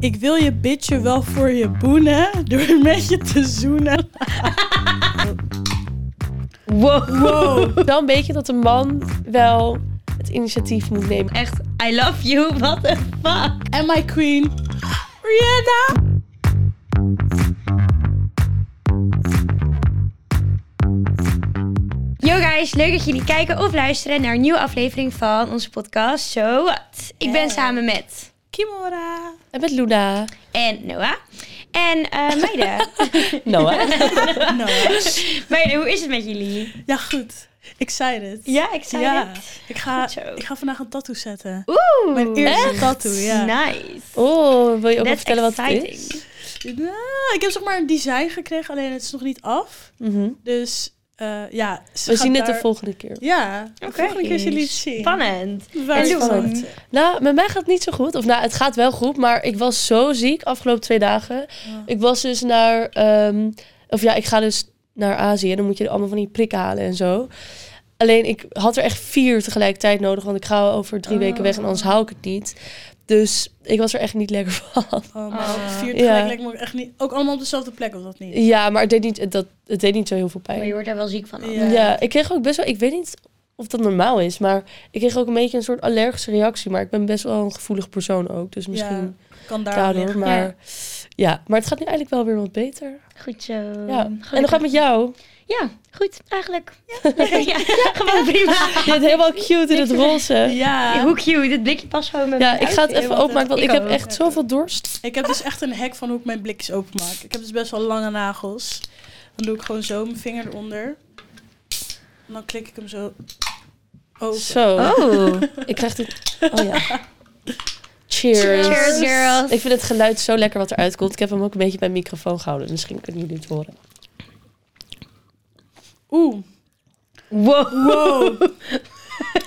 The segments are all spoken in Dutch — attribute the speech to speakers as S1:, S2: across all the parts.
S1: Ik wil je bitje wel voor je boenen door met je te zoenen.
S2: Wow.
S1: Wow.
S2: Wel een beetje dat een man wel het initiatief moet nemen.
S3: Echt, I love you, what the fuck?
S1: En my queen, Rihanna.
S3: Yo guys, leuk dat jullie kijken of luisteren naar een nieuwe aflevering van onze podcast So What. Ik ben samen met
S1: Kimora.
S2: En Eh, met Luna.
S3: en Noah en eh, meiden.
S2: Noah.
S1: No.
S3: meiden, hoe is het met jullie?
S1: Ja, goed. Excited.
S3: Ja, excited.
S1: Ja. Ik ga,
S3: Goed zo.
S1: ik ga vandaag een tattoo zetten.
S3: Oeh,
S1: Mijn eerste tattoo, ja.
S3: Nice.
S2: Oh, wil je ook nog
S3: That's
S2: vertellen wat het
S3: exciting.
S2: is?
S1: Nou, ik heb zeg maar een design gekregen, alleen het is nog niet af.
S2: Mhm.
S1: Dus eh, ja, ze
S2: We
S1: gaat
S2: zien het de
S1: daar-
S2: volgende keer.
S1: Ja, de
S3: Oké.
S1: volgende keer zullen jullie het zien.
S3: Spannend.
S1: Waar
S3: En doe
S1: spannend.
S3: hem.
S2: Nou, met mij gaat het niet zo goed. Of nou, het gaat wel goed, maar ik was zo ziek afgelopen twee dagen. Ik was dus naar... ehm, of ja, ik ga dus naar Azië. Dan moet je allemaal van die prikken halen en zo. Alleen, ik had er echt vier tegelijkertijd nodig. Want ik ga over drie weken weg en anders hou ik het niet. Dus ik was er echt niet lekker van.
S1: Oh, maar
S3: Oh.
S1: vier
S2: Ja.
S1: tegelijk lijkt me ook echt niet... Ook allemaal op dezelfde plek, of dat niet?
S2: Ja, maar het deed niet, dat, het deed niet zo heel veel
S3: Maar je
S2: pijn.
S3: wordt daar wel ziek van.
S1: Ja.
S3: Ja.
S2: Ja, ik kreeg ook best wel... Ik weet niet of dat normaal is, maar ik kreeg ook een beetje een soort allergische reactie. Maar ik ben best wel een gevoelig persoon ook. Dus misschien...
S1: Kan daar
S2: daardoor.
S1: liggen.
S2: maar, ja. maar het gaat nu eigenlijk wel weer wat beter.
S3: Goed zo.
S2: Ja. En hoe
S3: Gelukkig.
S2: gaat het met jou?
S3: Ja, goed, eigenlijk. Ja, gewoon prima.
S2: Je bent helemaal cute in het roze.
S1: Ja.
S3: Hoe cute, dit blikje past gewoon met
S2: Ja,
S3: mij.
S2: ik ga het even openmaken, want
S3: Ik
S2: ik heb
S3: ook.
S2: echt zoveel dorst.
S1: Ik heb dus echt een hek van hoe ik mijn blikjes openmaak. Ik heb dus best wel lange nagels. Dan doe ik gewoon zo mijn vinger eronder. En dan klik ik hem zo open.
S2: Zo,
S3: Oh.
S2: ik krijg dit... Oh ja. Cheers.
S3: Cheers, girls.
S2: Ik vind het geluid zo lekker wat eruit komt. Ik heb hem ook een beetje bij mijn microfoon gehouden. Misschien kunnen jullie het horen.
S1: Oeh.
S3: Wow.
S1: Wow.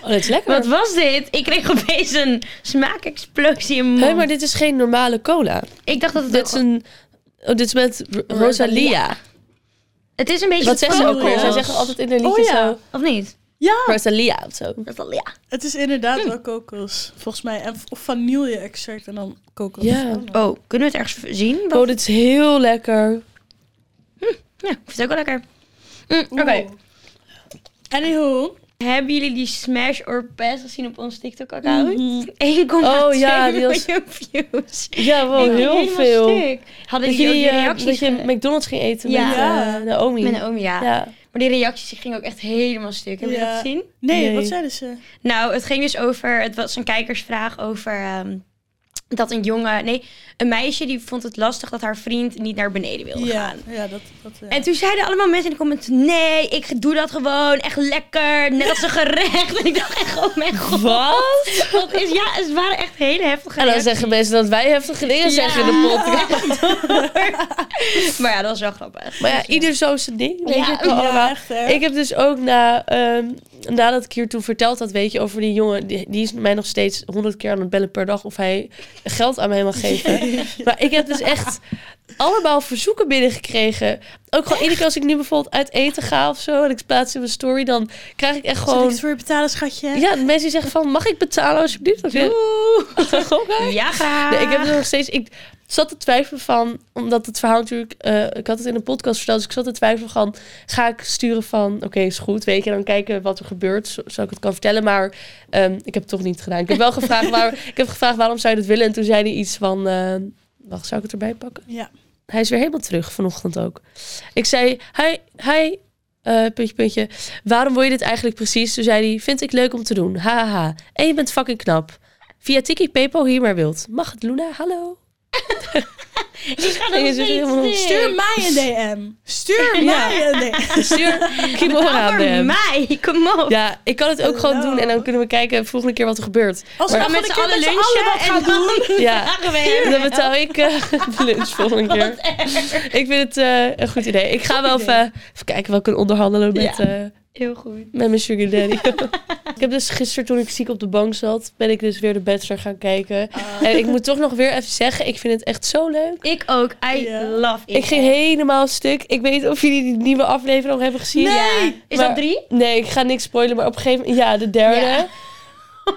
S2: Oh, dat is lekker.
S3: Wat was dit? Ik kreeg opeens een smaakexplosie in mijn
S2: Hé,
S3: mond.
S2: maar dit is geen normale cola.
S3: Ik dacht dat het
S2: Dit is
S3: ook-
S2: een... Oh, dit is met R- Rosalia.
S3: Het is een beetje...
S2: Wat zeggen ze ook weer? Zij
S3: cola.
S2: zeggen altijd in hun liedjes
S1: Oh ja.
S2: zo...
S3: Of niet?
S1: Ja,
S2: Rosalia of zo.
S3: Dat is wel, ja.
S1: het is inderdaad wel kokos. Volgens mij. En, of vanille-extract en dan kokos.
S2: Ja.
S3: Oh, kunnen we het ergens zien? Wat-
S2: Oh, dit is heel lekker.
S3: Ja, ik vind het ook wel lekker. Mm, Oké.
S1: Oké. Anywho.
S3: Hebben jullie die smash or pass gezien op ons TikTok-account?
S1: Mhm.
S3: 1,2
S2: Mm. Oh ja, die was-
S3: miljoen views.
S2: Ja, wel
S3: Ik ging
S2: heel
S3: helemaal
S2: veel.
S3: stuk. Hadden
S2: Dat
S3: jullie ook die
S2: je,
S3: reacties?
S2: eh, dat je
S3: ge-
S2: McDonald's ging eten
S3: Ja.
S2: met
S1: Ja.
S2: eh, Naomi.
S3: Met Naomi, ja.
S2: Ja.
S3: Maar die reacties gingen ook echt helemaal stuk. Heb je
S1: Ja.
S3: dat gezien?
S1: Nee,
S2: Nee.
S1: wat zeiden ze?
S3: Nou, het ging dus over... Het was een kijkersvraag over... ehm, dat een jongen... Nee, een meisje die vond het lastig dat haar vriend niet naar beneden wilde
S1: Ja,
S3: gaan.
S1: ja, dat... dat eh. ja.
S3: En toen zeiden allemaal mensen in de comments... Nee, ik doe dat gewoon. Echt lekker. Net als een gerecht. En ik dacht echt, oh mijn god.
S2: Wat?
S3: Wat is... Ja, het waren echt hele heftige
S2: En dan
S3: reacties.
S2: zeggen mensen dat wij heftige dingen zeggen in de podcast.
S3: Maar ja, dat was wel grappig.
S2: Maar ja, ieder zo zijn ding, weet
S3: Ja.
S2: je het wel
S1: Ja,
S2: allemaal.
S1: echt, hè?
S2: Ik heb dus ook na, ehm, nadat ik hier toen verteld had, weet je, over die jongen, die, die is mij nog steeds honderd keer aan het bellen per dag of hij geld aan mij mag geven. Maar ik heb dus echt allemaal verzoeken binnengekregen. Ook gewoon iedere keer als ik nu bijvoorbeeld uit eten ga of zo en ik plaats in mijn story, dan krijg ik echt
S1: Zal ik
S2: gewoon...
S1: het voor je betalen, schatje?
S2: Ja, de mensen die zeggen van, mag ik betalen alsjeblieft? Of je- Oké.
S3: Ja, graag.
S2: Nee, ik heb er nog steeds... Ik zat te twijfelen van... Omdat het verhaal natuurlijk... eh, ik had het in een podcast verteld. Dus ik zat te twijfelen van... Ga ik sturen van... Oké, is goed. Weet je, en dan kijken wat er gebeurt. zo- Zodat ik het kan vertellen. Maar ehm, ik heb het toch niet gedaan. Ik heb wel gevraagd... Waar, ik heb gevraagd waarom zou je dat willen. En toen zei hij iets van... ehm, wacht, zou ik het erbij pakken?
S1: Ja.
S2: Hij is weer helemaal terug vanochtend ook. Ik zei, hi, hi, eh, puntje, puntje. Waarom wil je dit eigenlijk precies? Toen zei hij, vind ik leuk om te doen. Haha. En je bent fucking knap. Via Tiki Pepo hier maar wilt. Mag het, Luna? Hallo.
S3: Ik ga
S2: En je
S3: nog
S2: zegt
S3: steeds
S2: helemaal,
S3: stuk.
S1: Stuur mij een DM. Stuur
S2: Ja.
S1: mij een DM.
S2: Stuur Kimora aan
S3: Voor
S2: hem.
S3: mij, kom op.
S2: Ja, ik kan het ook gewoon
S1: Hallo.
S2: doen. En dan kunnen we kijken volgende keer wat er gebeurt.
S1: Als we
S3: We gaan
S1: dan
S3: met z'n allen lunchen
S1: wat gaan
S3: en dan
S1: doen.
S2: Ja.
S3: vragen we hem.
S2: Dan betaal ik eh, de lunch volgende keer. Ik vind het eh, een goed idee. Ik ga wel even, even kijken wat ik kan onderhandelen met...
S3: Ja.
S2: eh,
S3: Heel goed.
S2: Met mijn sugar daddy. ik heb dus gisteren toen ik ziek op de bank zat, ben ik dus weer de Bachelor gaan kijken.
S3: Oh.
S2: En ik moet toch nog weer even zeggen, ik vind het echt zo leuk.
S3: Ik ook. I
S1: Ja.
S3: love it.
S2: Ik ging helemaal stuk. Ik weet niet of jullie die nieuwe aflevering nog hebben gezien.
S3: Ja. Is
S2: Maar-
S3: dat drie?
S2: Nee, ik ga niks spoilen, maar op een gegeven moment... Ja, de derde.
S3: Ja.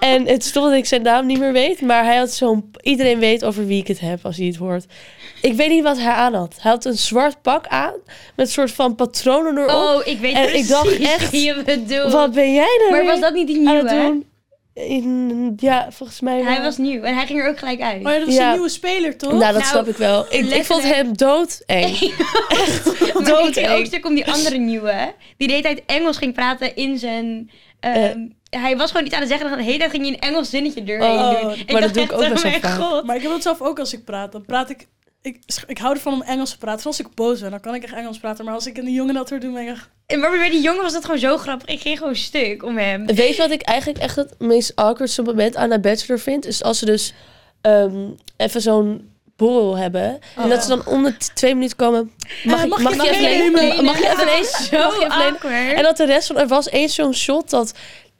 S2: En het is toch dat ik zijn naam niet meer weet. Maar hij had zo'n... Iedereen weet over wie ik het heb als hij het hoort. Ik weet niet wat hij aan had. Hij had een zwart pak aan. Met soort van patronen erop.
S3: Oh, ik weet
S2: En ik
S3: precies
S2: dacht echt,
S3: wie je bedoelt.
S2: Wat ben jij nou
S3: maar
S2: weer
S3: was dat niet die
S2: aan
S3: nieuwe?
S2: het
S3: hè?
S2: doen? In- ja, volgens mij
S3: Hij
S2: wel.
S3: was nieuw en hij ging er ook gelijk uit.
S1: Maar Oh dat was
S2: Oh, Ja.
S1: een nieuwe speler, toch?
S2: Nou, dat
S3: Nou,
S2: snap ik wel. Ik, ik vond
S3: letterlijk.
S2: hem doodeng.
S3: maar
S2: dood
S3: ik ging ook
S2: eng.
S3: stuk om die andere nieuwe. hè? Die de hele tijd Engels ging praten in zijn... ehm, Hij was gewoon iets aan het zeggen. En de hele tijd ging hij een Engels zinnetje doorheen
S1: Oh,
S3: doen.
S1: maar
S3: ik
S2: dat
S3: dacht
S2: doe ik
S3: echt,
S2: ook best wel
S3: oh mijn
S2: vaak.
S3: god.
S1: Maar ik heb dat zelf ook als ik praat. Dan praat ik... Ik, ik hou ervan om Engels te praten. Zoals ik boos ben, dan kan ik echt Engels praten. Maar als ik een jongen dat hoor doen, ben ik echt...
S3: En maar bij die jongen was dat gewoon zo grappig. Ik ging gewoon stuk om hem.
S2: Weet je wat ik eigenlijk echt het meest awkwardste moment aan een bachelor vind? Is als ze dus ehm, even zo'n borrel hebben.
S3: Oh.
S2: En dat ze dan om de t- twee minuten komen.
S3: Ah,
S2: Mag,
S1: Eh,
S2: ik,
S1: mag
S2: mag,
S1: je- mag
S2: je
S1: ik
S2: even
S1: even
S2: lenen?
S1: lenen?
S2: Mag je even lenen?
S3: Zo
S2: Mag je even lenen?
S3: awkward.
S2: En dat de rest van... Er was eens zo'n shot dat,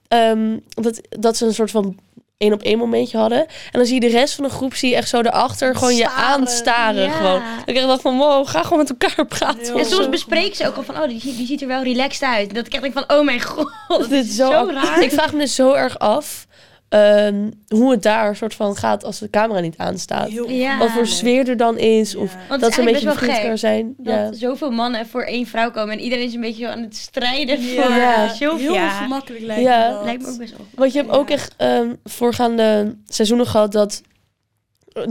S2: ehm, dat, dat ze een soort van één op één momentje hadden. En dan zie je de rest van de groep zie je echt zo daarachter gewoon je
S1: Staren.
S2: aanstaren.
S3: Ja.
S2: Gewoon. Dan krijg je dat van, wow, ga gewoon met elkaar praten.
S1: Ja,
S2: of
S3: En soms
S2: zo.
S3: bespreken ze ook al van, oh, die, die ziet er wel relaxed uit. En dat ik echt denk van, oh mijn god, dat
S2: Dit
S3: is zo,
S2: awkward.
S3: raar.
S2: Ik vraag me dus zo erg af ehm, hoe het daar soort van gaat als de camera niet aanstaat.
S1: Heel
S3: Ja. Oh,
S2: Wat voor sfeer er dan is.
S1: Ja.
S2: Of
S1: Want het
S3: is
S2: dat ze een
S3: eigenlijk best
S2: beetje
S3: wel
S2: bevriend
S3: gek
S2: kunnen zijn.
S3: Dat
S2: Ja.
S3: zoveel mannen voor één vrouw komen en iedereen is een beetje zo aan het strijden voor
S2: Ja.
S3: ja.
S1: Heel
S3: Sylvia.
S1: gemakkelijk lijkt
S2: Ja.
S1: me dat.
S3: Lijkt me ook best wel.
S2: Want je hebt ook
S1: Ja.
S2: echt ehm, voorgaande seizoenen gehad dat,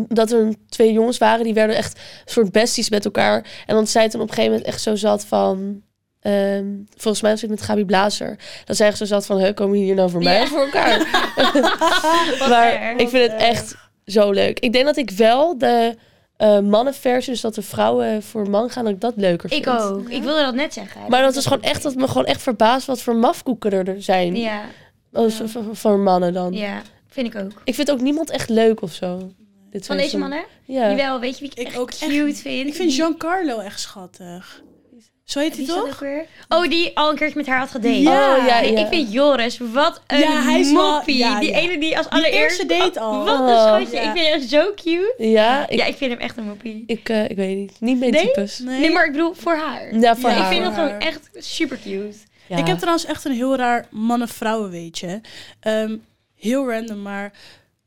S2: dat er twee jongens waren. Die werden echt soort besties met elkaar. En dan zei het dan op een gegeven moment echt zo zat van... ehm, volgens mij was het met Gabi Blazer. Dat zij echt zo zat van, "Huh, komen jullie hier nou voor mij
S3: Ja.
S2: of voor elkaar?
S3: Wat
S2: maar
S3: erg.
S2: ik vind het
S1: erg.
S2: echt zo leuk. Ik denk dat ik wel de eh mannenversie, dus dat de vrouwen voor man gaan, dat ik dat leuker vind.
S3: Ik ook. Ik wilde dat net zeggen.
S2: Maar dat is gewoon echt, dat me gewoon echt verbaast wat voor mafkoeken er zijn.
S3: Ja,
S2: Als-
S1: Ja.
S2: voor- Voor mannen dan.
S3: ja, vind ik ook.
S2: Ik vind ook niemand echt leuk of zo. Dit
S3: Van
S2: seizoen.
S3: deze mannen?
S2: Ja.
S3: Jawel, weet je wie ik,
S1: Ik
S3: echt
S1: ook echt.
S3: cute vind?
S1: Ik vind
S3: Die-
S1: Giancarlo echt schattig. Zo heet hij
S3: Wie is dat
S1: toch?
S3: ook weer? Oh, die al een keertje met haar had gedate.
S1: Ja.
S2: Oh, ja,
S3: Nee,
S2: ja.
S3: Ik vind Joris, wat een
S1: Ja, hij is wel-
S3: moppie.
S1: ja,
S3: die
S1: ja.
S3: ene die als
S1: Die
S3: allereerste...
S1: eerste date al.
S3: Wat een
S2: Oh.
S3: schatje.
S1: Ja.
S3: Ik vind hem zo cute.
S2: Ja, ik,
S3: ja, ik vind hem echt een moppie.
S2: ik, eh, ik weet niet. Niet mijn
S3: Nee?
S2: types.
S1: Nee.
S3: Nee, maar ik bedoel, voor haar.
S2: Ja, voor
S1: Ja,
S2: haar.
S3: Ik vind
S1: Voor
S3: dat gewoon
S1: haar.
S3: echt super cute.
S2: Ja.
S1: Ik heb trouwens echt een heel raar mannen-vrouwen weetje. Ehm, heel random, maar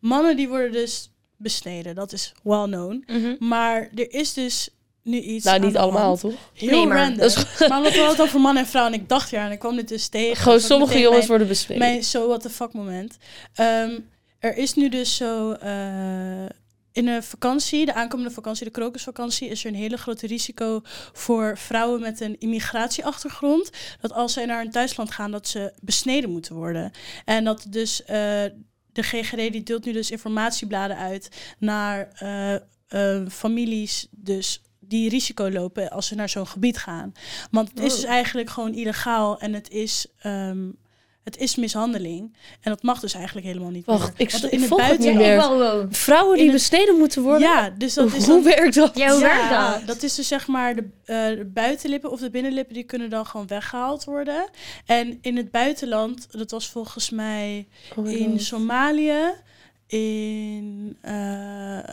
S1: mannen die worden dus besneden. Dat is well known. Maar er is dus nu iets
S2: nou,
S1: aan
S2: niet
S1: de hand.
S2: allemaal, toch?
S1: Heel
S3: Nee, maar
S1: random.
S2: dat is
S1: Maar omdat we hadden het over man en vrouw en ik dacht ja, en ik kwam dit dus tegen.
S2: Gewoon
S1: Dat was
S2: sommige
S1: meteen
S2: jongens
S1: mijn,
S2: worden bespreken.
S1: Mijn so what the fuck moment. Ehm, er is nu dus zo... eh, in een vakantie, de aankomende vakantie, de krokusvakantie, is er een hele groot risico voor vrouwen met een immigratieachtergrond. Dat als zij naar hun thuisland gaan, dat ze besneden moeten worden. En dat dus eh, de GGD die deelt nu dus informatiebladen uit naar eh, eh, families dus die risico lopen als ze naar zo'n gebied gaan. Want het is
S2: Oh.
S1: dus eigenlijk gewoon illegaal en het is... ehm, het is mishandeling. En dat mag dus eigenlijk helemaal niet.
S2: Wacht,
S1: meer.
S2: ik-
S1: Want
S2: ik
S1: in het
S2: volg het niet
S1: buitenland-
S3: Ja,
S2: meer.
S3: ik wel, wow.
S2: Vrouwen die
S1: in het-
S2: besneden moeten worden?
S1: ja, dus dat is dan...
S2: Hoe werkt dat?
S3: Ja, hoe werkt
S1: Ja,
S3: dat?
S1: dat is dus zeg maar de, eh, de buitenlippen of de binnenlippen, die kunnen dan gewoon weggehaald worden. En in het buitenland, dat was volgens mij
S2: Oh my
S1: in
S2: God.
S1: Somalië, in.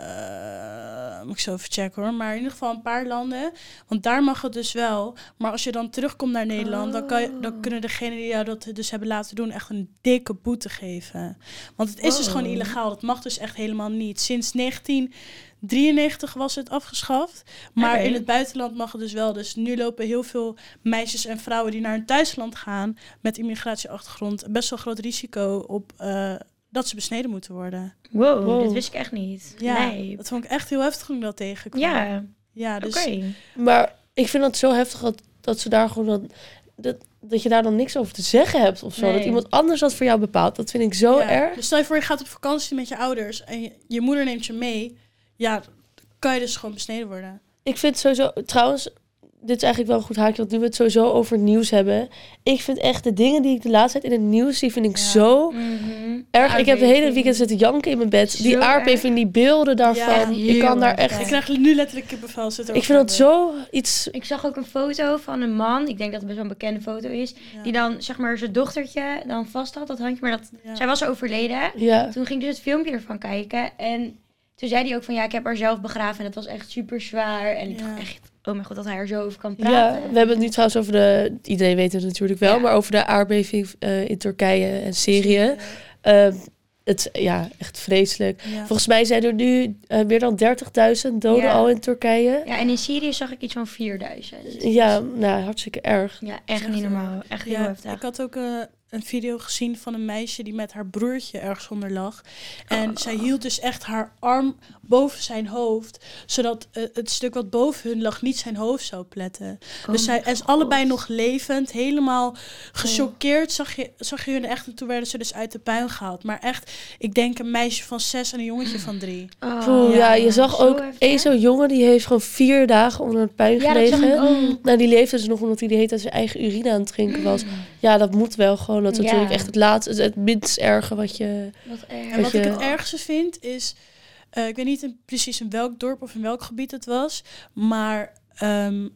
S1: eh, moet ik zo even checken hoor, maar in ieder geval een paar landen. Want daar mag het dus wel. Maar als je dan terugkomt naar Nederland, dan, kan je, dan kunnen degenen die jou dat dus hebben laten doen echt een dikke boete geven. Want het is dus
S2: Wow.
S1: gewoon illegaal. Dat mag dus echt helemaal niet. Sinds 1993 was het afgeschaft. Maar
S3: Oké.
S1: in het buitenland mag het dus wel. Dus nu lopen heel veel meisjes en vrouwen die naar hun thuisland gaan met immigratieachtergrond best wel groot risico op eh, dat ze besneden moeten worden.
S3: Wow,
S2: Wow.
S3: dit wist ik echt niet.
S1: Ja,
S3: Nee.
S1: dat vond ik echt heel heftig toen ik dat tegenkwam.
S3: Ja,
S1: ja dus
S3: oké.
S2: Maar ik vind dat zo heftig dat, dat ze daar gewoon dan, dat, dat je daar dan niks over te zeggen hebt of zo.
S3: Nee.
S2: Dat iemand anders dat voor jou bepaalt. Dat vind ik
S3: Oh,
S2: zo
S1: Ja.
S2: erg.
S1: Dus stel je voor, je gaat op vakantie met je ouders en je, je moeder neemt je mee. Ja, dan kan je dus gewoon besneden worden.
S2: Ik vind sowieso, trouwens, dit is eigenlijk wel een goed haakje, want nu we het sowieso over het nieuws hebben. Ik vind echt de dingen die ik de laatste tijd in het nieuws zie, vind ik
S1: Ja.
S2: zo
S3: Mhm.
S2: erg. Ik heb de hele
S3: Aardbeving.
S2: weekend zitten janken in mijn bed. die
S3: Zo
S2: aardbeving, die beelden
S1: Ja,
S2: daarvan. ik
S3: heel
S2: kan daar
S3: erg.
S2: echt...
S1: Ik
S3: Ja.
S1: krijg nu letterlijk kippenvel. Zit er
S2: Ik
S1: ook
S2: vind
S1: van
S2: dat
S1: de-
S2: zo iets...
S3: Ik zag ook een foto van een man, ik denk dat het best wel een bekende foto is,
S1: Ja.
S3: die dan zeg maar zijn dochtertje dan vast had, dat handje, maar dat,
S1: Ja.
S3: zij was overleden.
S2: Ja.
S3: Toen ging ik dus het filmpje ervan kijken en toen zei hij ook van ja, ik heb haar zelf begraven en dat was echt super zwaar. En ik
S1: Ja.
S3: dacht echt, oh mijn god, dat hij er zo over kan
S2: Ja,
S3: praten.
S2: we hebben het nu trouwens over de... Iedereen weet het natuurlijk wel,
S3: Ja.
S2: maar over de aardbeving eh, in Turkije en Syrië. Ehm, het, ja, echt vreselijk.
S1: Ja.
S2: Volgens mij zijn er nu eh, meer dan 30.000 doden
S3: Ja.
S2: al in Turkije.
S3: Ja, en in Syrië zag ik iets van 4000.
S2: Ja, nou, hartstikke erg.
S3: Ja, echt niet normaal. Echt heel
S1: Ja,
S3: heftig.
S1: ik had ook eh, een video gezien van een meisje die met haar broertje ergens onder lag. En zij hield dus echt haar arm boven zijn hoofd, zodat eh, het stuk wat boven hun lag niet zijn hoofd zou pletten.
S3: Oh
S1: dus zij en ze allebei nog levend, helemaal gechoqueerd zag je, zag je hun echt. En toen werden ze dus uit de puin gehaald. Maar echt, ik denk een meisje van zes en een jongetje van drie.
S3: Oh,
S2: Poeh, ja, je zag
S3: zo
S2: ook
S3: heftig.
S2: één zo'n jongen die heeft gewoon vier dagen onder het puin
S3: Ja, dat zag
S2: gelegen.
S3: ik ook. Mm.
S2: Nou, die leefde dus nog omdat hij de hele tijd zijn eigen urine aan het drinken was. Ja, dat moet wel gewoon. Dat is
S3: Ja.
S2: natuurlijk echt het laatste, het, het minst erge wat je...
S3: Wat
S1: En
S3: erg.
S1: wat
S2: je-
S1: ik het ergste vind is, eh, ik weet niet in- precies in welk dorp of in welk gebied het was, maar ehm,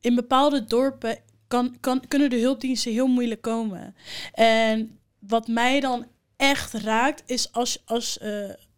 S1: in bepaalde dorpen kan, kan, kunnen de hulpdiensten heel moeilijk komen. En wat mij dan echt raakt is als, als eh,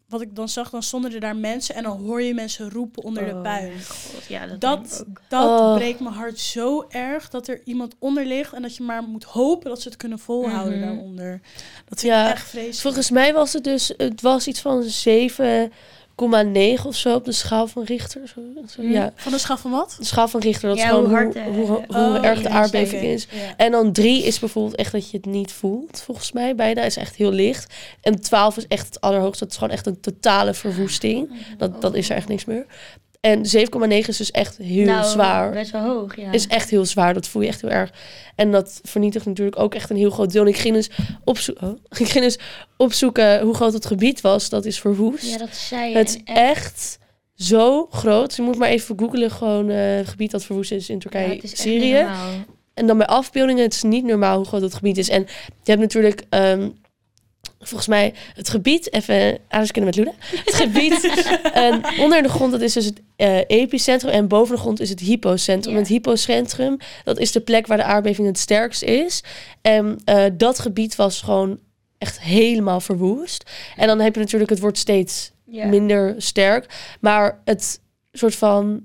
S1: wat ik dan zag, dan stonden er daar mensen en dan hoor je mensen roepen onder de
S3: Oh,
S1: puin.
S3: mijn god, Ja, dat,
S1: Dat,
S3: denk ik
S1: dat
S2: Oh.
S1: breekt mijn hart zo erg dat er iemand onder ligt en dat je maar moet hopen dat ze het kunnen volhouden
S3: Mhm.
S1: daaronder. Dat vind
S2: Ja,
S1: ik echt vreselijk.
S2: Volgens mij was het dus, het was iets van 7,9 of zo op de schaal van Richter. Zo, zo,
S3: Hmm.
S2: Ja,
S1: Van de schaal van wat?
S2: de schaal van Richter, dat
S3: Ja,
S2: is gewoon
S3: hoe
S2: hoe,
S3: hard
S2: hard,
S3: de-
S2: hoe, hoe
S1: Oh,
S2: erg
S1: ja,
S2: de
S1: ja,
S2: aardbeving
S1: oké.
S2: is.
S1: Ja.
S2: En dan 3 is bijvoorbeeld echt dat je het niet voelt, volgens mij bijna. is echt heel licht. En 12 is echt het allerhoogste. Dat is gewoon echt een totale
S3: Oh.
S2: verwoesting. Dat, dan is er echt niks meer. En 7,9 is dus echt heel
S3: ook. Nou,
S2: zwaar.
S3: Best wel hoog, ja.
S2: Is echt heel zwaar, dat voel je echt heel erg. En dat vernietigt natuurlijk ook echt een heel groot deel. En ik ging dus, opzo- oh, ik ging dus opzoeken hoe groot het gebied was. Dat is verwoest.
S3: ja, dat zei je.
S2: het is
S3: En echt-
S2: echt zo groot. Dus je moet maar even googlen gewoon eh, het gebied dat verwoest is in
S3: ja,
S2: Turkije,
S3: het is echt niet
S2: Syrië.
S3: normaal.
S2: En dan bij afbeeldingen, het is niet normaal hoe groot dat gebied is. En je hebt natuurlijk, ehm, volgens mij, het gebied, even anders kunnen met Luna. Het gebied eh, onder de grond, dat is dus het eh, epicentrum. En boven de grond is het hypocentrum.
S3: Ja.
S2: Het hypocentrum, dat is de plek waar de aardbeving het sterkst is. En eh, dat gebied was gewoon echt helemaal verwoest. En dan heb je natuurlijk, het wordt steeds
S3: Ja.
S2: minder sterk. Maar het soort van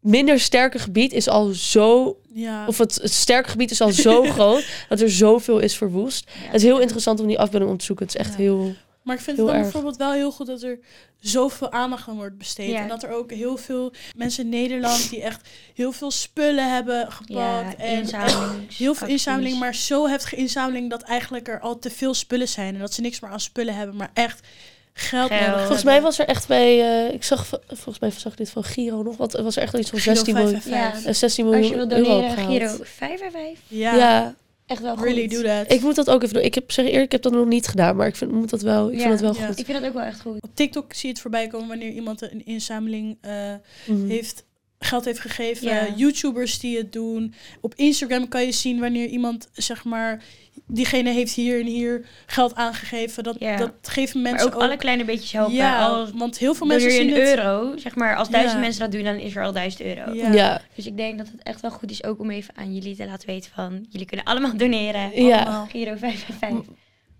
S2: minder sterke gebied is al zo.
S1: Ja.
S2: Of het, het sterke gebied is al zo groot dat er zoveel is verwoest.
S3: Ja.
S2: Het is heel interessant om die afbeelding op te zoeken. Het is echt
S1: Ja.
S2: heel.
S1: Maar ik vind
S2: Heel
S1: het dan
S2: erg.
S1: bijvoorbeeld wel heel goed dat er zoveel aandacht aan wordt besteed.
S3: Ja.
S1: En dat er ook heel veel mensen in Nederland die echt heel veel spullen hebben gepakt.
S3: Ja,
S1: en
S3: inzameling.
S1: heel veel inzameling, maar zo heftige inzameling dat eigenlijk er al te veel spullen zijn. En dat ze niks meer aan spullen hebben, maar echt geld,
S3: Geld.
S1: nodig
S2: Volgens mij was er echt bij. eh, ik zag v- volgens mij zag ik dit van Giro nog. Wat was er echt al iets van 16 miljoen?
S1: Ja.
S3: Ja.
S2: eh, 16
S3: Als
S2: miljoen
S3: je wil
S2: euro
S3: doneren,
S2: opgehaald.
S3: Giro 5 bij 5.
S1: Ja,
S2: Ja.
S3: Echt wel
S1: really
S3: goed.
S1: do that.
S2: ik moet dat ook even doen. Ik heb zeg eerlijk, ik heb dat nog niet gedaan, maar ik vind, moet dat wel. Ik
S3: Ja.
S2: vind dat wel
S1: Ja.
S2: goed.
S3: Ik vind dat ook wel echt goed.
S1: Op TikTok zie je het voorbij komen wanneer iemand een inzameling eh,
S2: Mhm.
S1: heeft geld heeft gegeven.
S3: Mm. Ja.
S1: YouTubers die het doen. Op Instagram kan je zien wanneer iemand, zeg maar, diegene heeft hier en hier geld aangegeven. Dat,
S3: Ja.
S1: dat geven
S3: Maar
S1: mensen
S3: ook, alle kleine beetjes helpen.
S1: ja,
S3: al
S1: want heel veel
S3: doneer
S1: mensen
S3: je
S1: zien
S3: een
S1: het.
S3: euro, zeg maar, als duizend
S1: Ja.
S3: mensen dat doen, dan is er al duizend euro.
S1: Ja.
S2: ja.
S3: Dus ik denk dat het echt wel goed is ook om even aan jullie te laten weten van, jullie kunnen allemaal doneren.
S2: Ja.
S1: Allemaal.
S3: Giro 5 bij 5.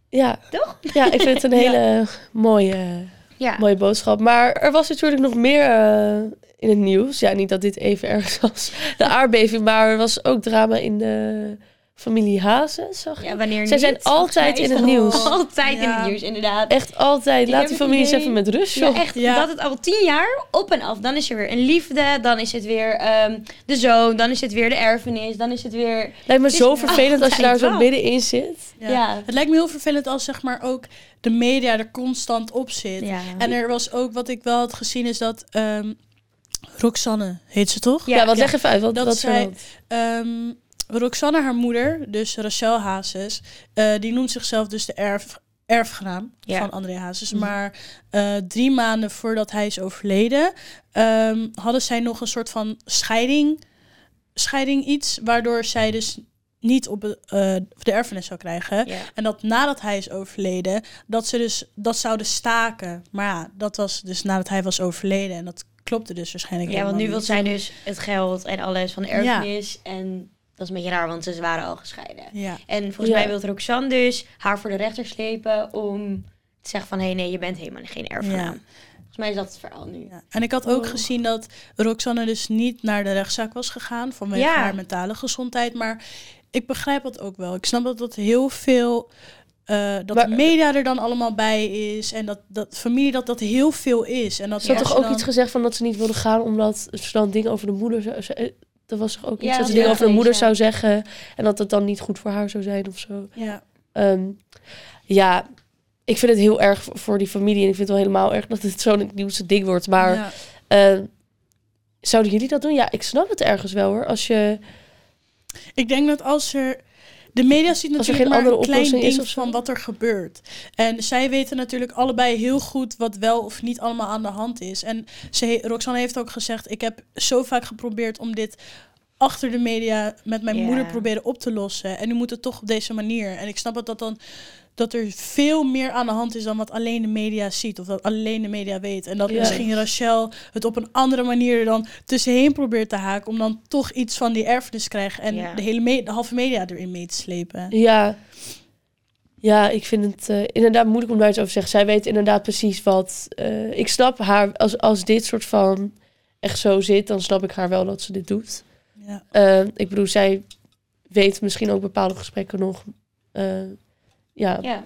S2: Ja.
S3: Toch?
S2: Ja, ik vind het een
S1: Ja.
S2: hele mooie,
S3: Ja.
S2: mooie boodschap. Maar er was natuurlijk nog meer eh, in het nieuws. Ja, niet dat dit even erg was, de aardbeving. Maar er was ook drama in de familie Hazen, zag je?
S3: Ja, wanneer
S2: Zij
S3: niet,
S2: zijn altijd in het
S1: Oh.
S2: nieuws.
S3: Altijd in
S1: Ja.
S3: het nieuws, inderdaad.
S2: Echt altijd.
S3: Ik
S2: Laat
S3: heb
S2: die
S3: het
S2: families
S3: idee-
S2: even met rust,
S3: Ja,
S2: joh.
S3: echt.
S1: Ja.
S3: Dat het al tien jaar op en af. Dan is er weer een liefde, dan is het weer ehm, de zoon, dan is het weer de erfenis, dan is het weer...
S2: Lijkt me
S3: is
S2: zo vervelend als je daar
S3: altijd
S2: zo
S3: wel.
S2: middenin zit.
S1: Ja.
S3: Ja.
S1: Het lijkt me heel vervelend als zeg maar ook de media er constant op zit.
S3: Ja.
S1: En er was ook wat ik wel had gezien is dat ehm, Roxanne heet ze toch?
S2: Ja,
S3: Ja,
S2: wat
S1: ja.
S2: leg even uit. Wat,
S1: Dat
S2: dat wat voor
S1: zij-
S2: land?
S1: Ehm, Roxanne, haar moeder, dus Rachel Hazes, eh, die noemt zichzelf dus de erf, erfgenaam
S3: Ja.
S1: van André Hazes.
S2: Mhm.
S1: Maar eh, drie maanden voordat hij is overleden, ehm, hadden zij nog een soort van scheiding, scheiding iets, waardoor zij dus niet op het, eh, de erfenis zou krijgen.
S3: Ja.
S1: En dat nadat hij is overleden, dat ze dus dat zouden staken. Maar ja, dat was dus nadat hij was overleden. En dat klopte dus waarschijnlijk
S3: Ja, want
S1: helemaal
S3: nu wil
S1: niet.
S3: zij dus het geld en alles van de erfenis. En dat is een beetje raar, want ze waren al gescheiden.
S1: Ja.
S3: En volgens
S2: Ja.
S3: mij wil Roxanne dus haar voor de rechter slepen om te zeggen van... hé, hey, nee, je bent helemaal geen erfgenaam.
S1: Ja.
S3: Volgens mij is dat het verhaal nu.
S1: Ja. En ik had ook
S3: Oh.
S1: gezien dat Roxanne dus niet naar de rechtszaak was gegaan vanwege
S3: Ja.
S1: haar mentale gezondheid. Maar ik begrijp dat ook wel. Ik snap dat dat heel veel eh, dat
S2: Maar-
S1: de media er dan allemaal bij is. En dat, dat familie, dat dat heel veel is. En dat
S2: Ze had
S1: als
S2: toch
S1: je
S2: ook
S1: dan-
S2: iets gezegd van dat ze niet wilde gaan omdat ze dan dingen over de moeder zou... ze- eh, Er was toch ook iets
S3: Ja,
S2: dat ze
S3: ja,
S2: dingen over de moeder
S3: ja.
S2: zou zeggen en dat het dan niet goed voor haar zou zijn of zo.
S1: Ja.
S2: Ehm, ja, ik vind het heel erg voor- voor die familie en ik vind het wel helemaal erg dat het zo'n nieuwste ding wordt. Maar
S1: ja.
S2: ehm, zouden jullie dat doen? Ja, ik snap het ergens wel hoor. Als je...
S1: Ik denk dat als er... De media ziet
S2: er
S1: natuurlijk
S2: geen
S1: maar
S2: andere
S1: een klein
S2: oplossing is
S1: ding
S2: of zo.
S1: van wat er gebeurt. En zij weten natuurlijk allebei heel goed wat wel of niet allemaal aan de hand is. En ze, Roxanne heeft ook gezegd, ik heb zo vaak geprobeerd om dit achter de media met mijn
S3: Ja.
S1: moeder proberen op te lossen. En nu moet het toch op deze manier. En ik snap dat, dat, dan, dat er veel meer aan de hand is dan wat alleen de media ziet. Of dat alleen de media weet. En dat
S2: Ja.
S1: misschien Rachel het op een andere manier er dan tussenheen probeert te haken. Om dan toch iets van die erfenis te krijgen. En
S3: Ja.
S1: de hele me- de halve media erin mee te slepen.
S2: Ja, ja ik vind het eh, inderdaad moeilijk om daar iets over te zeggen. Zij weet inderdaad precies wat... eh, ik snap haar, als, als dit soort van echt zo zit, dan snap ik haar wel dat ze dit doet.
S1: Ja.
S2: Eh, ik bedoel, zij weet misschien ook bepaalde gesprekken nog eh, ja,
S3: Ja.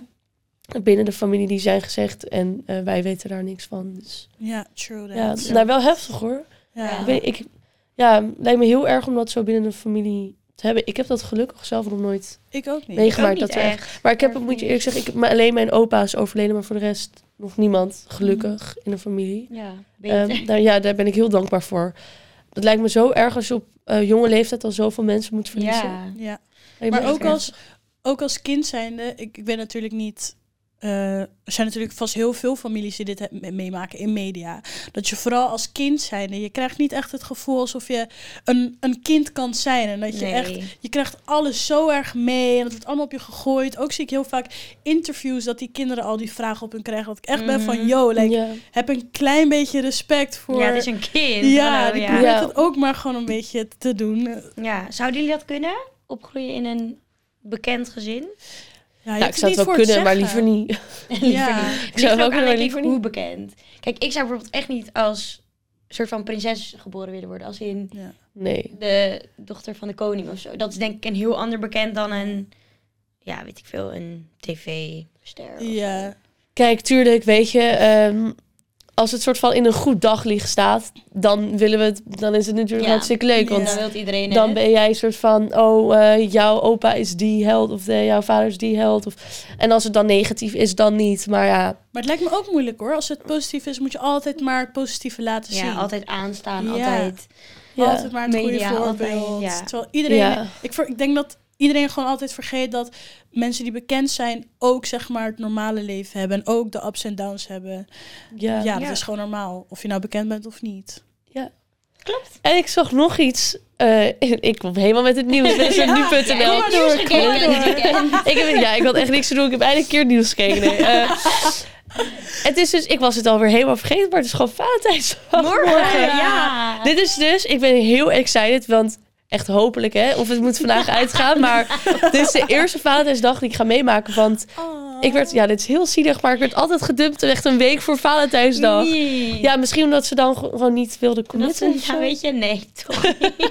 S2: binnen de familie die zijn gezegd. En eh, wij weten daar niks van. Dus
S1: ja, true that.
S2: ja, nou, wel heftig hoor.
S1: Ja.
S2: Ik weet, ik, ja, lijkt me heel erg om dat zo binnen de familie te hebben. Ik heb dat gelukkig zelf nog nooit
S1: Ik ook niet.
S3: Ik ook
S2: meegemaakt.
S3: niet
S2: Dat we echt-
S3: echt.
S2: maar ik heb,
S3: Erg
S2: moet je
S3: niet.
S2: eerlijk zeggen, ik heb, maar alleen mijn opa is overleden, maar voor de rest nog niemand, gelukkig, in de familie.
S3: Ja,
S2: Ehm,
S3: beter.
S2: daar, ja, daar ben ik heel dankbaar voor. Dat lijkt me zo erg als je op eh, jonge leeftijd al zoveel mensen moet verliezen.
S3: ja.
S1: Ja.
S2: Lijkt me
S1: Maar
S2: echt
S1: ook
S2: erg.
S1: als, ook als kind zijnde, ik, ik ben natuurlijk niet. eh, er zijn natuurlijk vast heel veel families die dit he- me- meemaken in media. Dat je vooral als kind zijnde, je krijgt niet echt het gevoel alsof je een, een kind kan zijn. En dat je
S3: Nee.
S1: echt, je krijgt alles zo erg mee en het wordt allemaal op je gegooid. Ook zie ik heel vaak interviews dat die kinderen al die vragen op hun krijgen. Dat ik echt ben van,
S3: Mhm.
S1: yo, like,
S2: Ja. Nou,
S1: heb een klein beetje respect voor...
S3: Ja, het is een kind.
S1: Ja,
S3: Hallo,
S1: die
S3: ja.
S1: probeert
S2: Ja.
S1: het ook maar gewoon een beetje te doen. Eh, Ja,
S3: Ja, zouden jullie dat kunnen? Opgroeien in een bekend gezin?
S1: je
S2: Ja,
S1: hebt
S2: Nou, ik zou
S1: niet
S2: het wel
S1: voor
S2: kunnen, maar
S1: zeggen.
S2: liever niet.
S1: Ja.
S3: Ik zou
S2: ook
S3: ook aan
S2: wel
S3: denk ik,
S2: liever
S3: hoe bekend. Kijk, ik zou bijvoorbeeld echt niet als soort van prinses geboren willen worden. Als in
S1: Ja.
S2: Nee.
S3: de dochter van de koning of zo. Dat is denk ik een heel ander bekend dan een, ja, weet ik veel, een tv-ster. of zo.
S1: Ja.
S2: Kijk, tuurlijk, weet je, ehm, als het soort van in een goed daglicht staat, dan willen we het, dan is het natuurlijk
S3: Ja.
S2: hartstikke leuk.
S1: Ja.
S2: Want
S3: Dan wil iedereen
S2: dan
S3: het.
S2: ben jij een soort van, oh, eh, jouw opa is die held of eh, jouw vader is die held. Of, en als het dan negatief is, dan niet. Maar ja,
S1: Maar het lijkt me ook moeilijk hoor. Als het positief is, moet je altijd maar het positieve laten zien.
S3: Ja, altijd aanstaan,
S1: Ja.
S3: altijd.
S2: ja.
S1: Altijd maar het
S3: Media,
S1: goede voorbeeld.
S3: altijd, ja.
S1: Terwijl iedereen,
S2: Ja.
S1: ik, ver- ik denk dat iedereen gewoon altijd vergeet dat mensen die bekend zijn ook zeg maar het normale leven hebben. En ook de ups en downs hebben.
S2: ja.
S1: Ja, dat
S3: Ja.
S1: is gewoon normaal. Of je nou bekend bent of niet.
S3: Klopt.
S2: En ik zag nog iets. eh, ik kom helemaal met het nieuws. Dit is op
S1: Ja,
S2: nu.nl.
S3: ja, ik heb nieuws gekeken
S2: Kom maar door.
S3: dit weekend.
S2: Ik heb, ja, ik had echt niks te doen. Ik heb eindelijk een keer het nieuws gekeken. Nee, eh, het is dus, ik was het alweer helemaal vergeten, maar het is gewoon Valentijnsdag.
S3: Morgen, ja.
S2: Dit is dus, ik ben heel excited, want echt hopelijk hè, of het moet vandaag uitgaan. Maar dit is de eerste Valentijnsdag die ik ga meemaken. Want ik werd, ja, dit is heel zielig, maar ik werd altijd gedumpt echt een week voor Valentijnsdag.
S3: Nee.
S2: Ja, eh, misschien omdat ze dan gewoon gewoon niet wilden
S3: Dat
S2: committen. of
S3: is,
S2: zo.
S3: nou weet je, nee, toch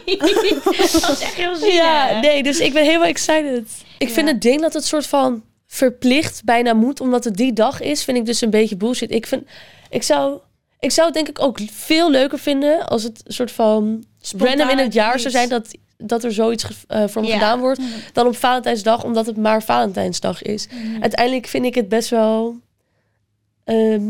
S3: niet. dat is echt heel zielig.
S2: Ja, nee, dus ik ben helemaal excited. Ik
S3: Ja.
S2: vind het ding dat het soort van verplicht bijna moet, omdat het die dag is, vind ik dus een beetje bullshit. Ik vind, ik zou, ik zou het denk ik ook veel leuker vinden als het een soort van
S1: Spontaan
S2: random in het jaar zou
S1: iets.
S2: zijn dat, dat er zoiets ge- eh, voor me
S3: Ja.
S2: gedaan wordt,
S1: Mm.
S2: dan op Valentijnsdag, omdat het maar Valentijnsdag is. Uiteindelijk vind ik het best wel. ehm,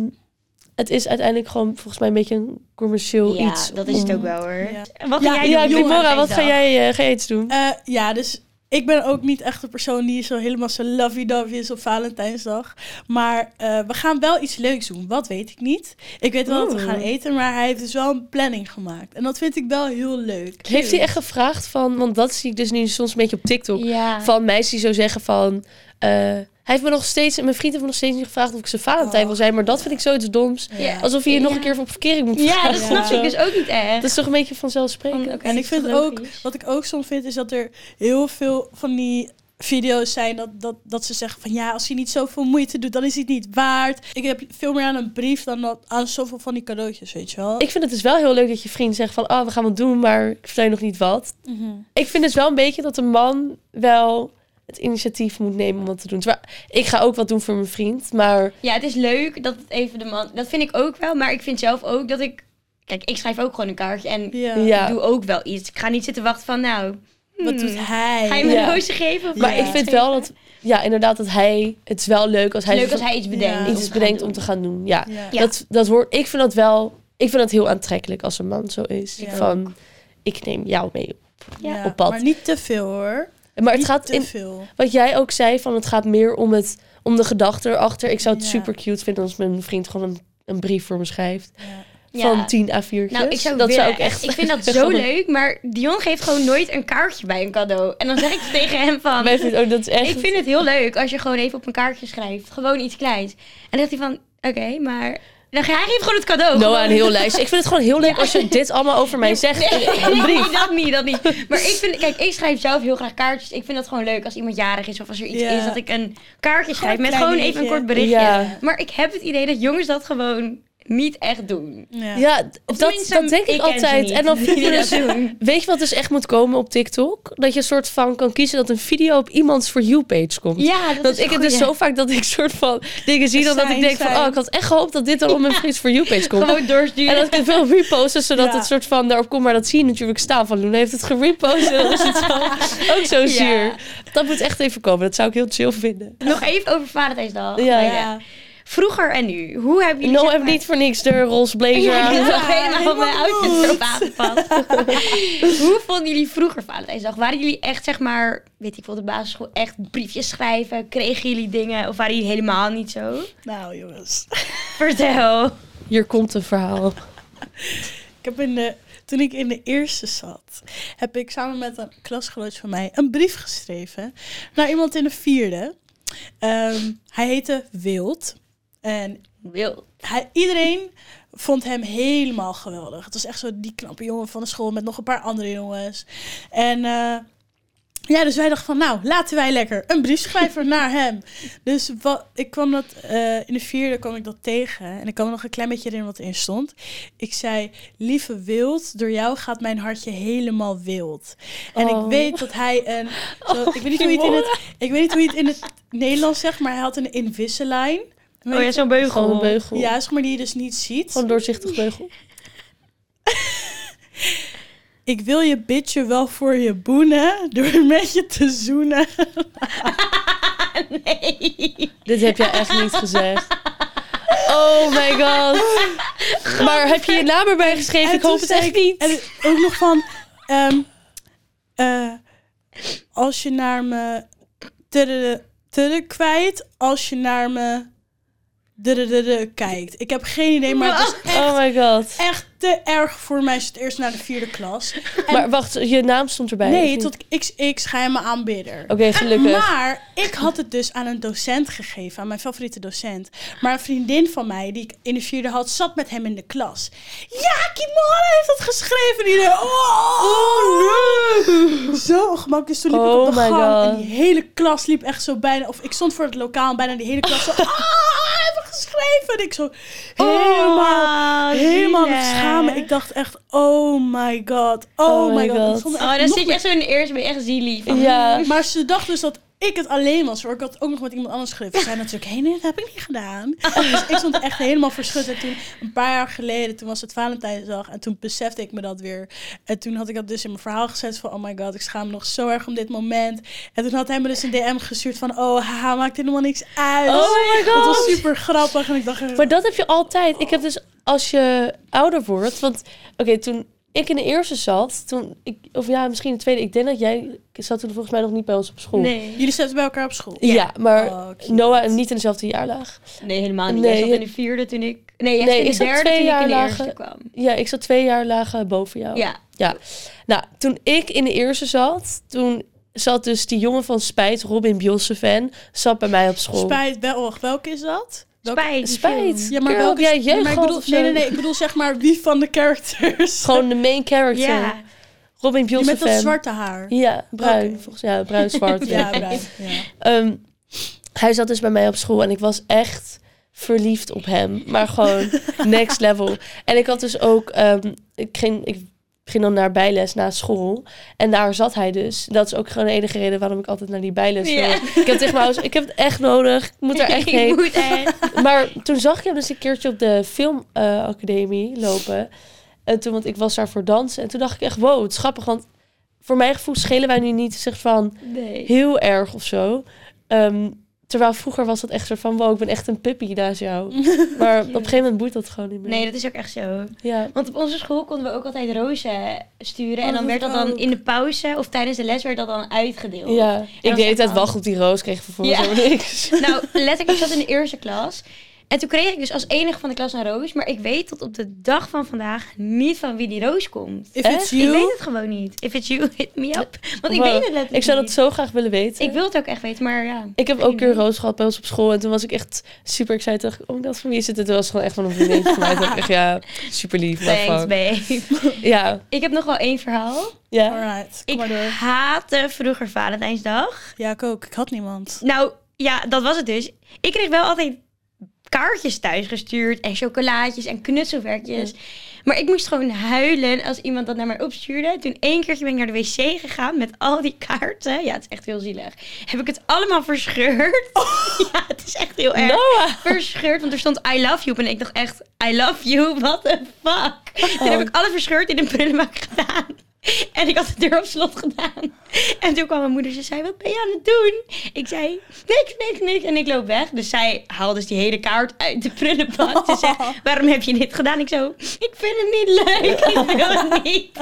S2: het is uiteindelijk gewoon volgens mij een beetje een commercieel
S3: Ja,
S2: iets.
S3: dat is het
S2: om-
S3: ook wel hoor.
S1: Ja.
S3: Wat
S1: Ja,
S3: ga jij
S2: Ja,
S3: doen?
S2: Kimora, wat
S3: Valentijnsdag?
S2: ga jij, eh, ga jij iets doen?
S1: Eh, ja, dus ik ben ook niet echt de persoon die zo helemaal zo lovey-dovey is op Valentijnsdag. Maar eh, we gaan wel iets leuks doen. Wat weet ik niet. Ik weet wel dat we
S2: Oeh.
S1: gaan eten, maar hij heeft dus wel een planning gemaakt. En dat vind ik wel heel leuk.
S2: Heeft hij echt gevraagd van, want dat zie ik dus nu soms een beetje op TikTok,
S3: Ja.
S2: van meisjes die zo zeggen van, eh, hij heeft me nog steeds, mijn vriend heeft me nog steeds niet gevraagd of ik zijn Valentijn wil zijn, maar dat vind ik zoiets doms.
S3: Oh. Ja.
S2: Alsof je je nog
S3: Ja.
S2: een keer op verkering moet
S3: Ja,
S2: vragen.
S3: dat
S1: Ja.
S3: snap
S2: of zo.
S3: ik dus ook niet echt.
S2: Dat is toch een beetje vanzelfsprekend.
S3: Van, oké,
S1: en ik
S3: is
S1: vind
S3: toch
S1: ook,
S3: logisch?
S1: wat ik ook soms vind, is dat er heel veel van die video's zijn dat, dat, dat ze zeggen van ja, als hij niet zoveel moeite doet, dan is hij het niet waard. Ik heb veel meer aan een brief dan dat, aan zoveel van die cadeautjes, weet je wel.
S2: Ik vind het dus wel heel leuk dat je vriend zegt van, oh, we gaan wat doen, maar ik vertel je nog niet wat.
S1: Mhm.
S2: Ik vind dus wel een beetje dat een man wel het initiatief moet nemen om wat te doen. Terwijl, ik ga ook wat doen voor mijn vriend, maar
S3: Ja, het is leuk dat het even de man. Dat vind ik ook wel. Maar ik vind zelf ook dat ik. Kijk, ik schrijf ook gewoon een kaartje. En
S1: Ja.
S2: Ja.
S3: ik doe ook wel iets. Ik ga niet zitten wachten van. Nou,
S1: Wat
S2: Hmm.
S1: doet hij?
S3: ga je me
S2: Ja.
S3: een roosje geven? Of
S2: Maar
S3: ga je
S2: ik
S3: iets
S2: vind wel
S3: geven?
S2: dat, ja, inderdaad, dat hij, het is wel leuk als hij,
S3: Leuk als hij iets bedenkt.
S1: Ja.
S3: om
S2: iets
S3: te gaan
S2: bedenkt
S3: doen.
S2: om te gaan doen. Ja,
S1: Ja.
S3: Ja.
S2: Dat, dat wordt, ik vind dat wel, ik vind dat heel aantrekkelijk als een man zo is.
S1: Ja.
S2: Van, ik neem jou mee.
S3: Ja.
S1: Ja,
S2: op pad.
S1: Maar niet te veel hoor.
S2: Maar het
S1: niet
S2: gaat,
S1: te
S2: in,
S1: veel.
S2: wat jij ook zei, van het gaat meer om, het, om de gedachte erachter. Ik zou het
S1: Ja.
S2: super cute vinden als mijn vriend gewoon een, een brief voor me schrijft.
S1: Ja.
S2: Van 10 à 4
S3: Nou, ik zou
S2: dat
S3: willen.
S2: zou ik echt.
S3: Ik vind dat zo leuk, maar Dion geeft gewoon nooit een kaartje bij een cadeau. En dan zeg ik tegen hem van...
S2: Wij vinden ook dat is echt.
S3: Ik vind het heel leuk als je gewoon even op een kaartje schrijft. Gewoon iets kleins. En dan zegt hij van, oké, maar... Dan ga hij geeft gewoon het cadeau.
S2: Noah,
S3: Gewoon-
S2: een heel lijstje. Ik vind het gewoon heel leuk als je dit allemaal over mij zegt.
S3: Nee,
S2: in Een
S3: nee,
S2: brief.
S3: dat niet, dat niet. Maar ik vind, kijk, ik schrijf zelf heel graag kaartjes. Ik vind dat gewoon leuk als iemand jarig is of als er iets
S1: Ja.
S3: is dat ik een kaartje schrijf
S1: een
S3: met
S1: klein
S3: gewoon even
S1: dingetje.
S3: een kort berichtje.
S2: Ja.
S3: Maar ik heb het idee dat jongens dat gewoon niet echt doen.
S1: Ja.
S2: Ja, d- dat,
S3: Tenminste,
S2: dat denk ik,
S3: ken ze
S2: altijd.
S3: niet
S2: En dan
S3: die
S2: video's.
S3: dat doen.
S2: Weet je wat dus echt moet komen op TikTok? Dat je een soort van kan kiezen dat een video op iemands For You page komt.
S3: Ja, dat
S2: Want
S3: is
S2: ik heb
S3: goed,
S2: dus
S3: ja.
S2: zo vaak dat ik soort van dingen zie dan dat ik
S1: Zijn,
S2: denk van...
S1: zijn.
S2: Oh, ik had echt gehoopt dat dit dan op mijn vriends For You page komt.
S3: Gewoon doorsturen.
S2: En dat ik het wil reposten, zodat
S1: Ja.
S2: het soort van daarop komt. Maar dat zie je natuurlijk staan van Loen heeft het gerepost. En dan is het zo- ook zo
S3: Ja.
S2: zuur. Dat moet echt even komen. Dat zou ik heel chill vinden.
S3: Nog even over Valentijnsdag.
S2: Ja.
S3: Maar
S1: Ja.
S3: Vroeger en nu. Hoe hebben jullie...
S2: No,
S3: zeg
S2: heb
S3: maar-
S2: niet voor niks de roze blazer
S3: Ja,
S2: aan.
S3: ik
S1: Ja,
S3: heb helemaal mijn
S1: helemaal
S3: outfit
S1: goed.
S3: erop aangepast. Hoe vonden jullie vroeger Valentijnsdag? Waren jullie echt, zeg maar, weet ik veel, de basisschool echt briefjes schrijven? Kregen jullie dingen? Of waren jullie helemaal niet zo?
S1: Nou jongens.
S3: Vertel.
S2: Hier komt een verhaal.
S1: Ik heb in de, toen ik in de eerste zat, heb ik samen met een klasgenoot van mij een brief geschreven naar iemand in de vierde. Ehm, hij heette Wild. En
S3: Wil.
S1: hij, iedereen vond hem helemaal geweldig. Het was echt zo die knappe jongen van de school met nog een paar andere jongens. En eh, ja, dus wij dachten van, nou, laten wij lekker een brief schrijven naar hem. Dus wat, ik kwam dat, eh, in de vierde kwam ik dat tegen. En ik kan me nog een klein beetje herinneren wat erin stond. Ik zei, lieve Wild, door jou gaat mijn hartje helemaal wild. En
S2: Oh.
S1: ik weet dat hij een... Zo, ik,
S3: Oh,
S1: weet niet hoe je het in
S2: Simone.
S1: het, ik weet niet hoe je het in het Nederlands zegt, maar hij had een Invisalign.
S3: Oh ja, zo'n beugel.
S2: Gewoon een beugel.
S1: Ja, zeg maar die je dus niet ziet.
S2: Gewoon een doorzichtig beugel.
S1: Ik wil je bitje wel voor je boenen door met je te zoenen.
S3: Nee.
S2: Dit heb jij echt niet gezegd. Oh my god. Maar heb je je naam erbij geschreven?
S1: En
S2: Ik
S1: toen
S2: hoop het
S1: zei ik-
S2: echt niet.
S1: En ook nog van, ehm, eh, als je naar me tudde- tudde kwijt, als je naar me tudde- tudde kijkt. Ik heb geen idee, maar het was echt,
S2: Oh my god.
S1: echt te erg voor mij. Het eerst naar de vierde klas.
S2: Maar wacht, je naam stond erbij. of
S1: Nee, Ah,
S2: niet?
S1: tot XX geheime aanbidder.
S2: Oké, gelukkig.
S1: Maar ik had het dus aan een docent gegeven, aan mijn favoriete docent. Maar een vriendin van mij, die ik in de vierde had, zat met hem in de klas. Ja, Kimora heeft dat geschreven. En iedereen, oh, nee. Zo ongemakkelijk. Dus toen liep ik op de
S2: Oh my
S1: gang en
S2: God.
S1: die hele klas liep echt zo bijna... Of ik stond voor het lokaal en bijna die hele klas zo... Ah, hij heeft het geschreven. En ik zo helemaal...
S3: Oh,
S1: Helemaal aan
S3: zielig.
S1: het schamen. Ik dacht echt, oh my god, oh, my god. Ik stond er
S3: Oh,
S1: echt
S3: dan
S1: nog
S3: zit je echt zo in de eerste, ben je echt zielig. van.
S2: Ja.
S1: maar ze dacht dus dat ik het alleen was hoor. Ik had ook nog met iemand anders geschreven. Ze zei natuurlijk, hé, nee, dat heb ik niet gedaan. Dus ik stond echt helemaal verschut. En toen, een paar jaar geleden, toen was het Valentijnsdag. En toen besefte ik me dat weer. En toen had ik dat dus in mijn verhaal gezet van, oh my god, ik schaam me nog zo erg om dit moment. En toen had hij me dus een DM gestuurd van, oh, haha, maakt helemaal niks uit.
S2: Oh my
S1: Dat
S2: god.
S1: was super grappig. En ik dacht, echt,
S2: Maar dat heb je altijd. Ik heb dus als je ouder wordt. Want oké, toen ik in de eerste zat. Toen ik, of ja, misschien in de tweede. Ik denk dat jij zat toen volgens mij nog niet bij ons op school.
S3: Nee.
S1: jullie zaten bij elkaar op school.
S2: Ja, maar
S1: Oh, cute.
S2: Noah en niet in dezelfde jaarlaag.
S3: Nee, helemaal niet.
S2: Nee.
S3: Jij zat in de vierde toen ik... Nee, jij
S2: Nee,
S3: zat in
S2: ik
S3: de
S2: zat
S3: derde
S2: twee
S3: toen ik
S2: jaar
S3: in de
S2: lager. Oh.
S3: eerste kwam.
S2: Ja, ik zat twee jaar lagen boven jou.
S3: Ja.
S2: Ja. Nou, toen ik in de eerste zat, toen zat dus die jongen van Spijt, Robin Bielsen-fan, zat bij mij op school.
S1: Spijt, wel, och, welke is dat? Welke-
S3: Spijt.
S2: Spijt.
S1: Ja, maar
S2: Girl,
S1: welke...
S2: heb jij jeugd
S1: maar ik
S2: gehad
S1: bedoel,
S2: of zo?
S1: nee, nee, nee, ik bedoel zeg maar wie van de characters.
S2: Gewoon de main character.
S3: Ja.
S2: Robin
S1: Die
S2: Bielsen-fan.
S1: met dat zwarte haar.
S2: Ja, bruin.
S1: Oké.
S2: Volgens ja, bruin-zwart.
S1: Ja, bruin. Ja.
S2: Ehm, hij zat dus bij mij op school en ik was echt verliefd op hem. Maar gewoon next level. En ik had dus ook... ehm, ik, ging, ik Ik ging dan naar bijles na school. En daar zat hij dus. Dat is ook gewoon de enige reden waarom ik altijd naar die bijles
S3: Ja.
S2: wil. Ik heb tegen mijn ouders, ik heb het echt nodig. Ik moet er echt
S3: Ik
S2: heen.
S3: moet echt.
S2: Maar toen zag ik hem dus een keertje op de filmacademie lopen. En toen, want ik was daar voor dansen. En toen dacht ik echt, wow, het is grappig. Want voor mijn gevoel schelen wij nu niet zeg, van
S3: Nee.
S2: heel erg of zo. Ehm, terwijl vroeger was dat echt zo van, wow, ik ben echt een puppy naast jou. Maar op een gegeven moment boeit dat gewoon niet meer.
S3: Nee, dat is ook echt zo.
S2: Ja.
S3: Want op onze school konden we ook altijd rozen sturen.
S1: Oh,
S3: en dan
S1: dat
S3: werd dat dan
S1: ook.
S3: in de pauze of tijdens de les werd dat dan uitgedeeld.
S2: Ja, Oh. ik
S3: was
S2: deed
S3: echt
S2: het
S3: aan.
S2: wacht op die roos, kreeg vervolgens
S3: Ja.
S2: helemaal niks.
S3: Nou, letterlijk, ik zat in de eerste klas. En toen kreeg ik dus als enige van de klas een roos. Maar ik weet tot op de dag van vandaag niet van wie die roos komt.
S1: If
S2: Echt?
S1: it's
S3: Ik weet
S1: you,
S3: het gewoon niet. If it's you, hit me up. Want ik
S2: Wow.
S3: weet het letterlijk
S2: Ik zou dat
S3: niet.
S2: zo graag willen weten.
S3: Ik wil het ook echt weten, maar ja.
S2: Ik heb ook een keer
S3: idee.
S2: roos gehad bij ons op school. En toen was ik echt super excited. Dacht ik, oh my god, van wie is het? En toen was het gewoon echt van een vriendinnetje van mij. Toen dacht ik echt, ja, super lief. maar
S3: Thanks,
S2: fuck.
S3: babe.
S2: Ja,
S3: Ik heb nog wel één verhaal.
S2: ja.
S1: alright, kom
S3: Ik
S1: maar door.
S3: haatte vroeger Valentijnsdag.
S1: Ja, ik ook. Ik had niemand.
S3: Nou, ja, dat was het dus. Ik kreeg wel altijd kaartjes thuis gestuurd en chocolaatjes en knutselwerkjes. Maar ik moest gewoon huilen als iemand dat naar mij opstuurde. Toen één keertje ben ik naar de wc gegaan met al die kaarten. Ja, het is echt heel zielig. Heb ik het allemaal verscheurd? Ja, het is echt heel erg.
S2: Noah!
S3: Verscheurd, want er stond I love you op en ik dacht echt, I love you, what the fuck. Toen heb ik alles verscheurd in een prullenbak gedaan. En ik had de deur op slot gedaan. En toen kwam mijn moeder, ze zei, wat ben je aan het doen? Ik zei, niks, niks, niks. En ik loop weg. Dus zij haalde dus die hele kaart uit de prullenbak. Ze zei, waarom heb je dit gedaan? Ik zo, ik vind het niet leuk, ik wil het niet.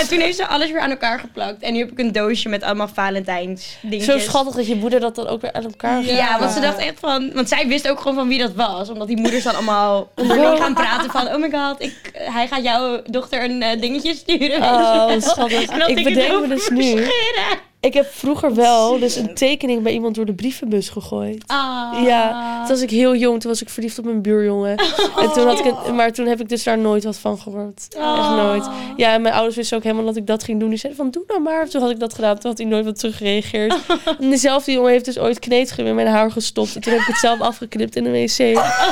S3: En toen heeft ze alles weer aan elkaar geplakt. En nu heb ik een doosje met allemaal Valentijns
S2: Zo
S3: dingetjes.
S2: schattig dat je moeder dat dan ook weer aan elkaar
S1: Ja.
S2: gaat.
S3: Ja, want ze dacht echt van... Want zij wist ook gewoon van wie dat was. Omdat die moeders dan allemaal onderling gaan praten van... Oh my god, ik, hij gaat jouw dochter een eh, dingetje sturen.
S2: Oh, schattig.
S3: En dat
S2: Ik
S3: het
S2: bedenk
S3: heel
S2: me dus nu.
S3: verschillen.
S2: Ik heb vroeger wel dus een tekening bij iemand door de brievenbus gegooid.
S3: Ah.
S2: Ja, toen was ik heel jong. Toen was ik verliefd op mijn buurjongen. En toen had ik het, maar toen heb ik dus daar nooit wat van gehoord. Echt
S3: Oh. Ah.
S2: nooit. Ja, en mijn ouders wisten ook helemaal dat ik dat ging doen. Die zeiden van, doe nou maar. Toen had ik dat gedaan. Toen had hij nooit wat terug gereageerd. En dezelfde jongen heeft dus ooit kneedgum in mijn haar gestopt. En toen heb ik het zelf afgeknipt in de wc.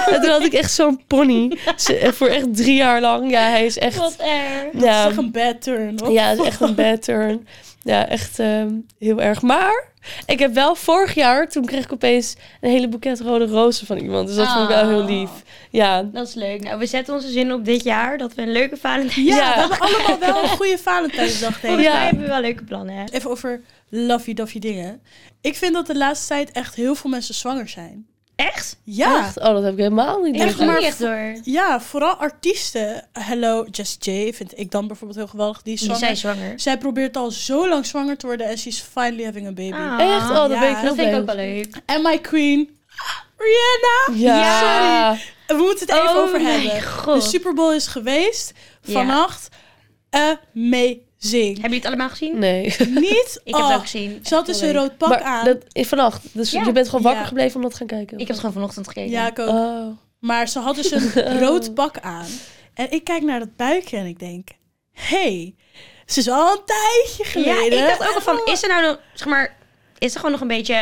S2: En toen had ik echt zo'n pony. Ze- eh, Voor echt drie jaar lang. Ja, hij is echt...
S3: Wat erg.
S1: Dat is
S2: Ja,
S1: echt een bad turn, hoor.
S2: ja, het is echt een bad turn. Ja, echt ehm, heel erg. Maar ik heb wel vorig jaar, toen kreeg ik opeens een hele boeket rode rozen van iemand. Dus dat vond ik wel heel
S3: Ah.
S2: lief. Ja,
S3: Dat is leuk. Nou, we zetten onze zin op dit jaar dat we een leuke Valentijn...
S1: Ja,
S2: Ja.
S1: we hebben allemaal wel een goede Valentijnsdag, denk ik.
S3: Volgens
S2: Ja.
S3: mij hebben we wel leuke plannen. hè?
S1: Even over lovey-dovey dingen. Ik vind dat de laatste tijd echt heel veel mensen zwanger zijn.
S3: Echt?
S1: Ja.
S2: echt. Oh, dat heb ik helemaal niet
S3: Ik
S1: Echt,
S3: heb
S2: doorgehad.
S3: het ook
S1: maar-
S3: niet echt door.
S1: Ja, vooral artiesten. Hello, Just J vind ik dan bijvoorbeeld heel geweldig. Die is
S3: Die
S1: zwanger.
S3: zijn zwanger.
S1: Zij probeert al zo lang zwanger te worden en she's finally having a baby.
S3: Ah,
S2: Echt? Oh, dat
S1: Ja,
S2: ben ik heel
S3: dat vind ik
S2: blij.
S3: ook wel leuk.
S1: En my queen, Rihanna.
S2: Ja.
S1: Ja. We moeten het even
S3: Oh
S1: over
S3: mijn
S1: hebben.
S3: god.
S1: De Super Bowl is geweest vannacht. Amazing.
S3: Hebben jullie het allemaal gezien?
S2: Nee.
S1: Niet?
S3: Ik heb
S1: oh,
S3: het ook gezien.
S1: Ze had dus een rood pak
S2: maar
S1: aan.
S2: dat is vannacht. Dus
S3: Ja.
S2: je bent gewoon wakker
S1: Ja.
S2: gebleven om dat te gaan kijken.
S3: Ik heb het gewoon vanochtend gekeken.
S1: Ja, ik ook.
S2: Oh.
S1: Maar ze had dus een
S3: Oh.
S1: rood pak aan. En ik kijk naar dat buikje en ik denk... hey, ze is al een tijdje
S3: Ja,
S1: geleden.
S3: ik dacht ook al van, is er nou nog, zeg maar, is er gewoon nog een beetje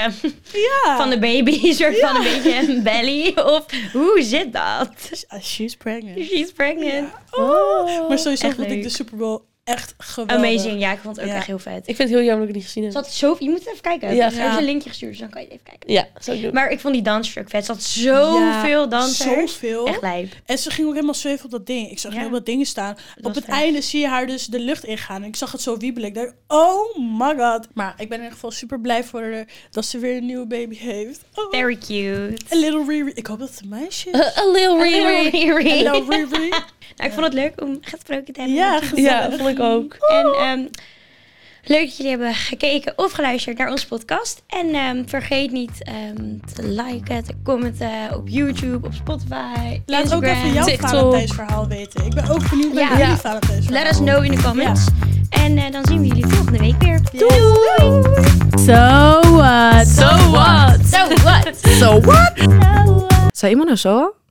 S1: Ja.
S3: van de baby, soort van een beetje een belly? Of hoe zit dat?
S1: Ah, She's pregnant.
S3: She's pregnant.
S2: Oh.
S1: Maar sowieso
S3: Echt
S1: vond ik
S3: leuk.
S1: de Super Bowl echt geweldig.
S3: Amazing, ja, ik vond het ook
S1: Ja.
S3: echt heel vet.
S2: Ik vind het heel jammer dat ik het niet gezien heb.
S3: Zat zo, je moet het even kijken.
S2: Ja.
S3: Ja, er is
S1: Ja.
S3: een linkje gestuurd, dus dan kan je het even kijken.
S2: Ja, zou ik doen.
S3: Maar ik vond die dansers ook vet. Er zat zoveel
S1: Ja,
S3: dansers.
S1: Zoveel.
S3: Echt lijp.
S1: En ze ging ook helemaal zweven op dat ding. Ik zag
S3: Ja.
S1: heel wat dingen staan.
S3: was
S1: op het
S3: vet.
S1: einde zie je haar dus de lucht ingaan. En ik zag het zo wiebelen. Ik dacht, oh my god. Maar ik ben in ieder geval super blij voor haar dat ze weer een nieuwe baby heeft. Oh.
S3: Very cute.
S1: A little Riri. Ik hoop dat het een meisje
S3: Uh,
S1: is.
S2: A little Riri.
S1: Hello
S3: Nou,
S1: Riri.
S3: ik vond het leuk om gesproken te hebben.
S1: ja,
S3: met
S1: gezellig.
S2: Ja, dat vond ik ook.
S3: En ehm, leuk dat jullie hebben gekeken of geluisterd naar onze podcast. En ehm, vergeet niet ehm, te liken, te commenten op YouTube, op Spotify,
S1: Laat ook
S3: Instagram.
S1: even jouw
S2: TikTok.
S1: Valentijnsverhaal weten. Ik ben ook benieuwd naar
S3: Ja.
S1: jullie
S2: Ja.
S1: Valentijnsverhaal.
S3: Let us know in de comments. En eh, dan zien we jullie volgende week weer.
S1: Yes.
S3: Doei!
S4: So what?
S2: So what?
S3: So what?
S4: So what?
S3: So what?
S4: Sa imo na so?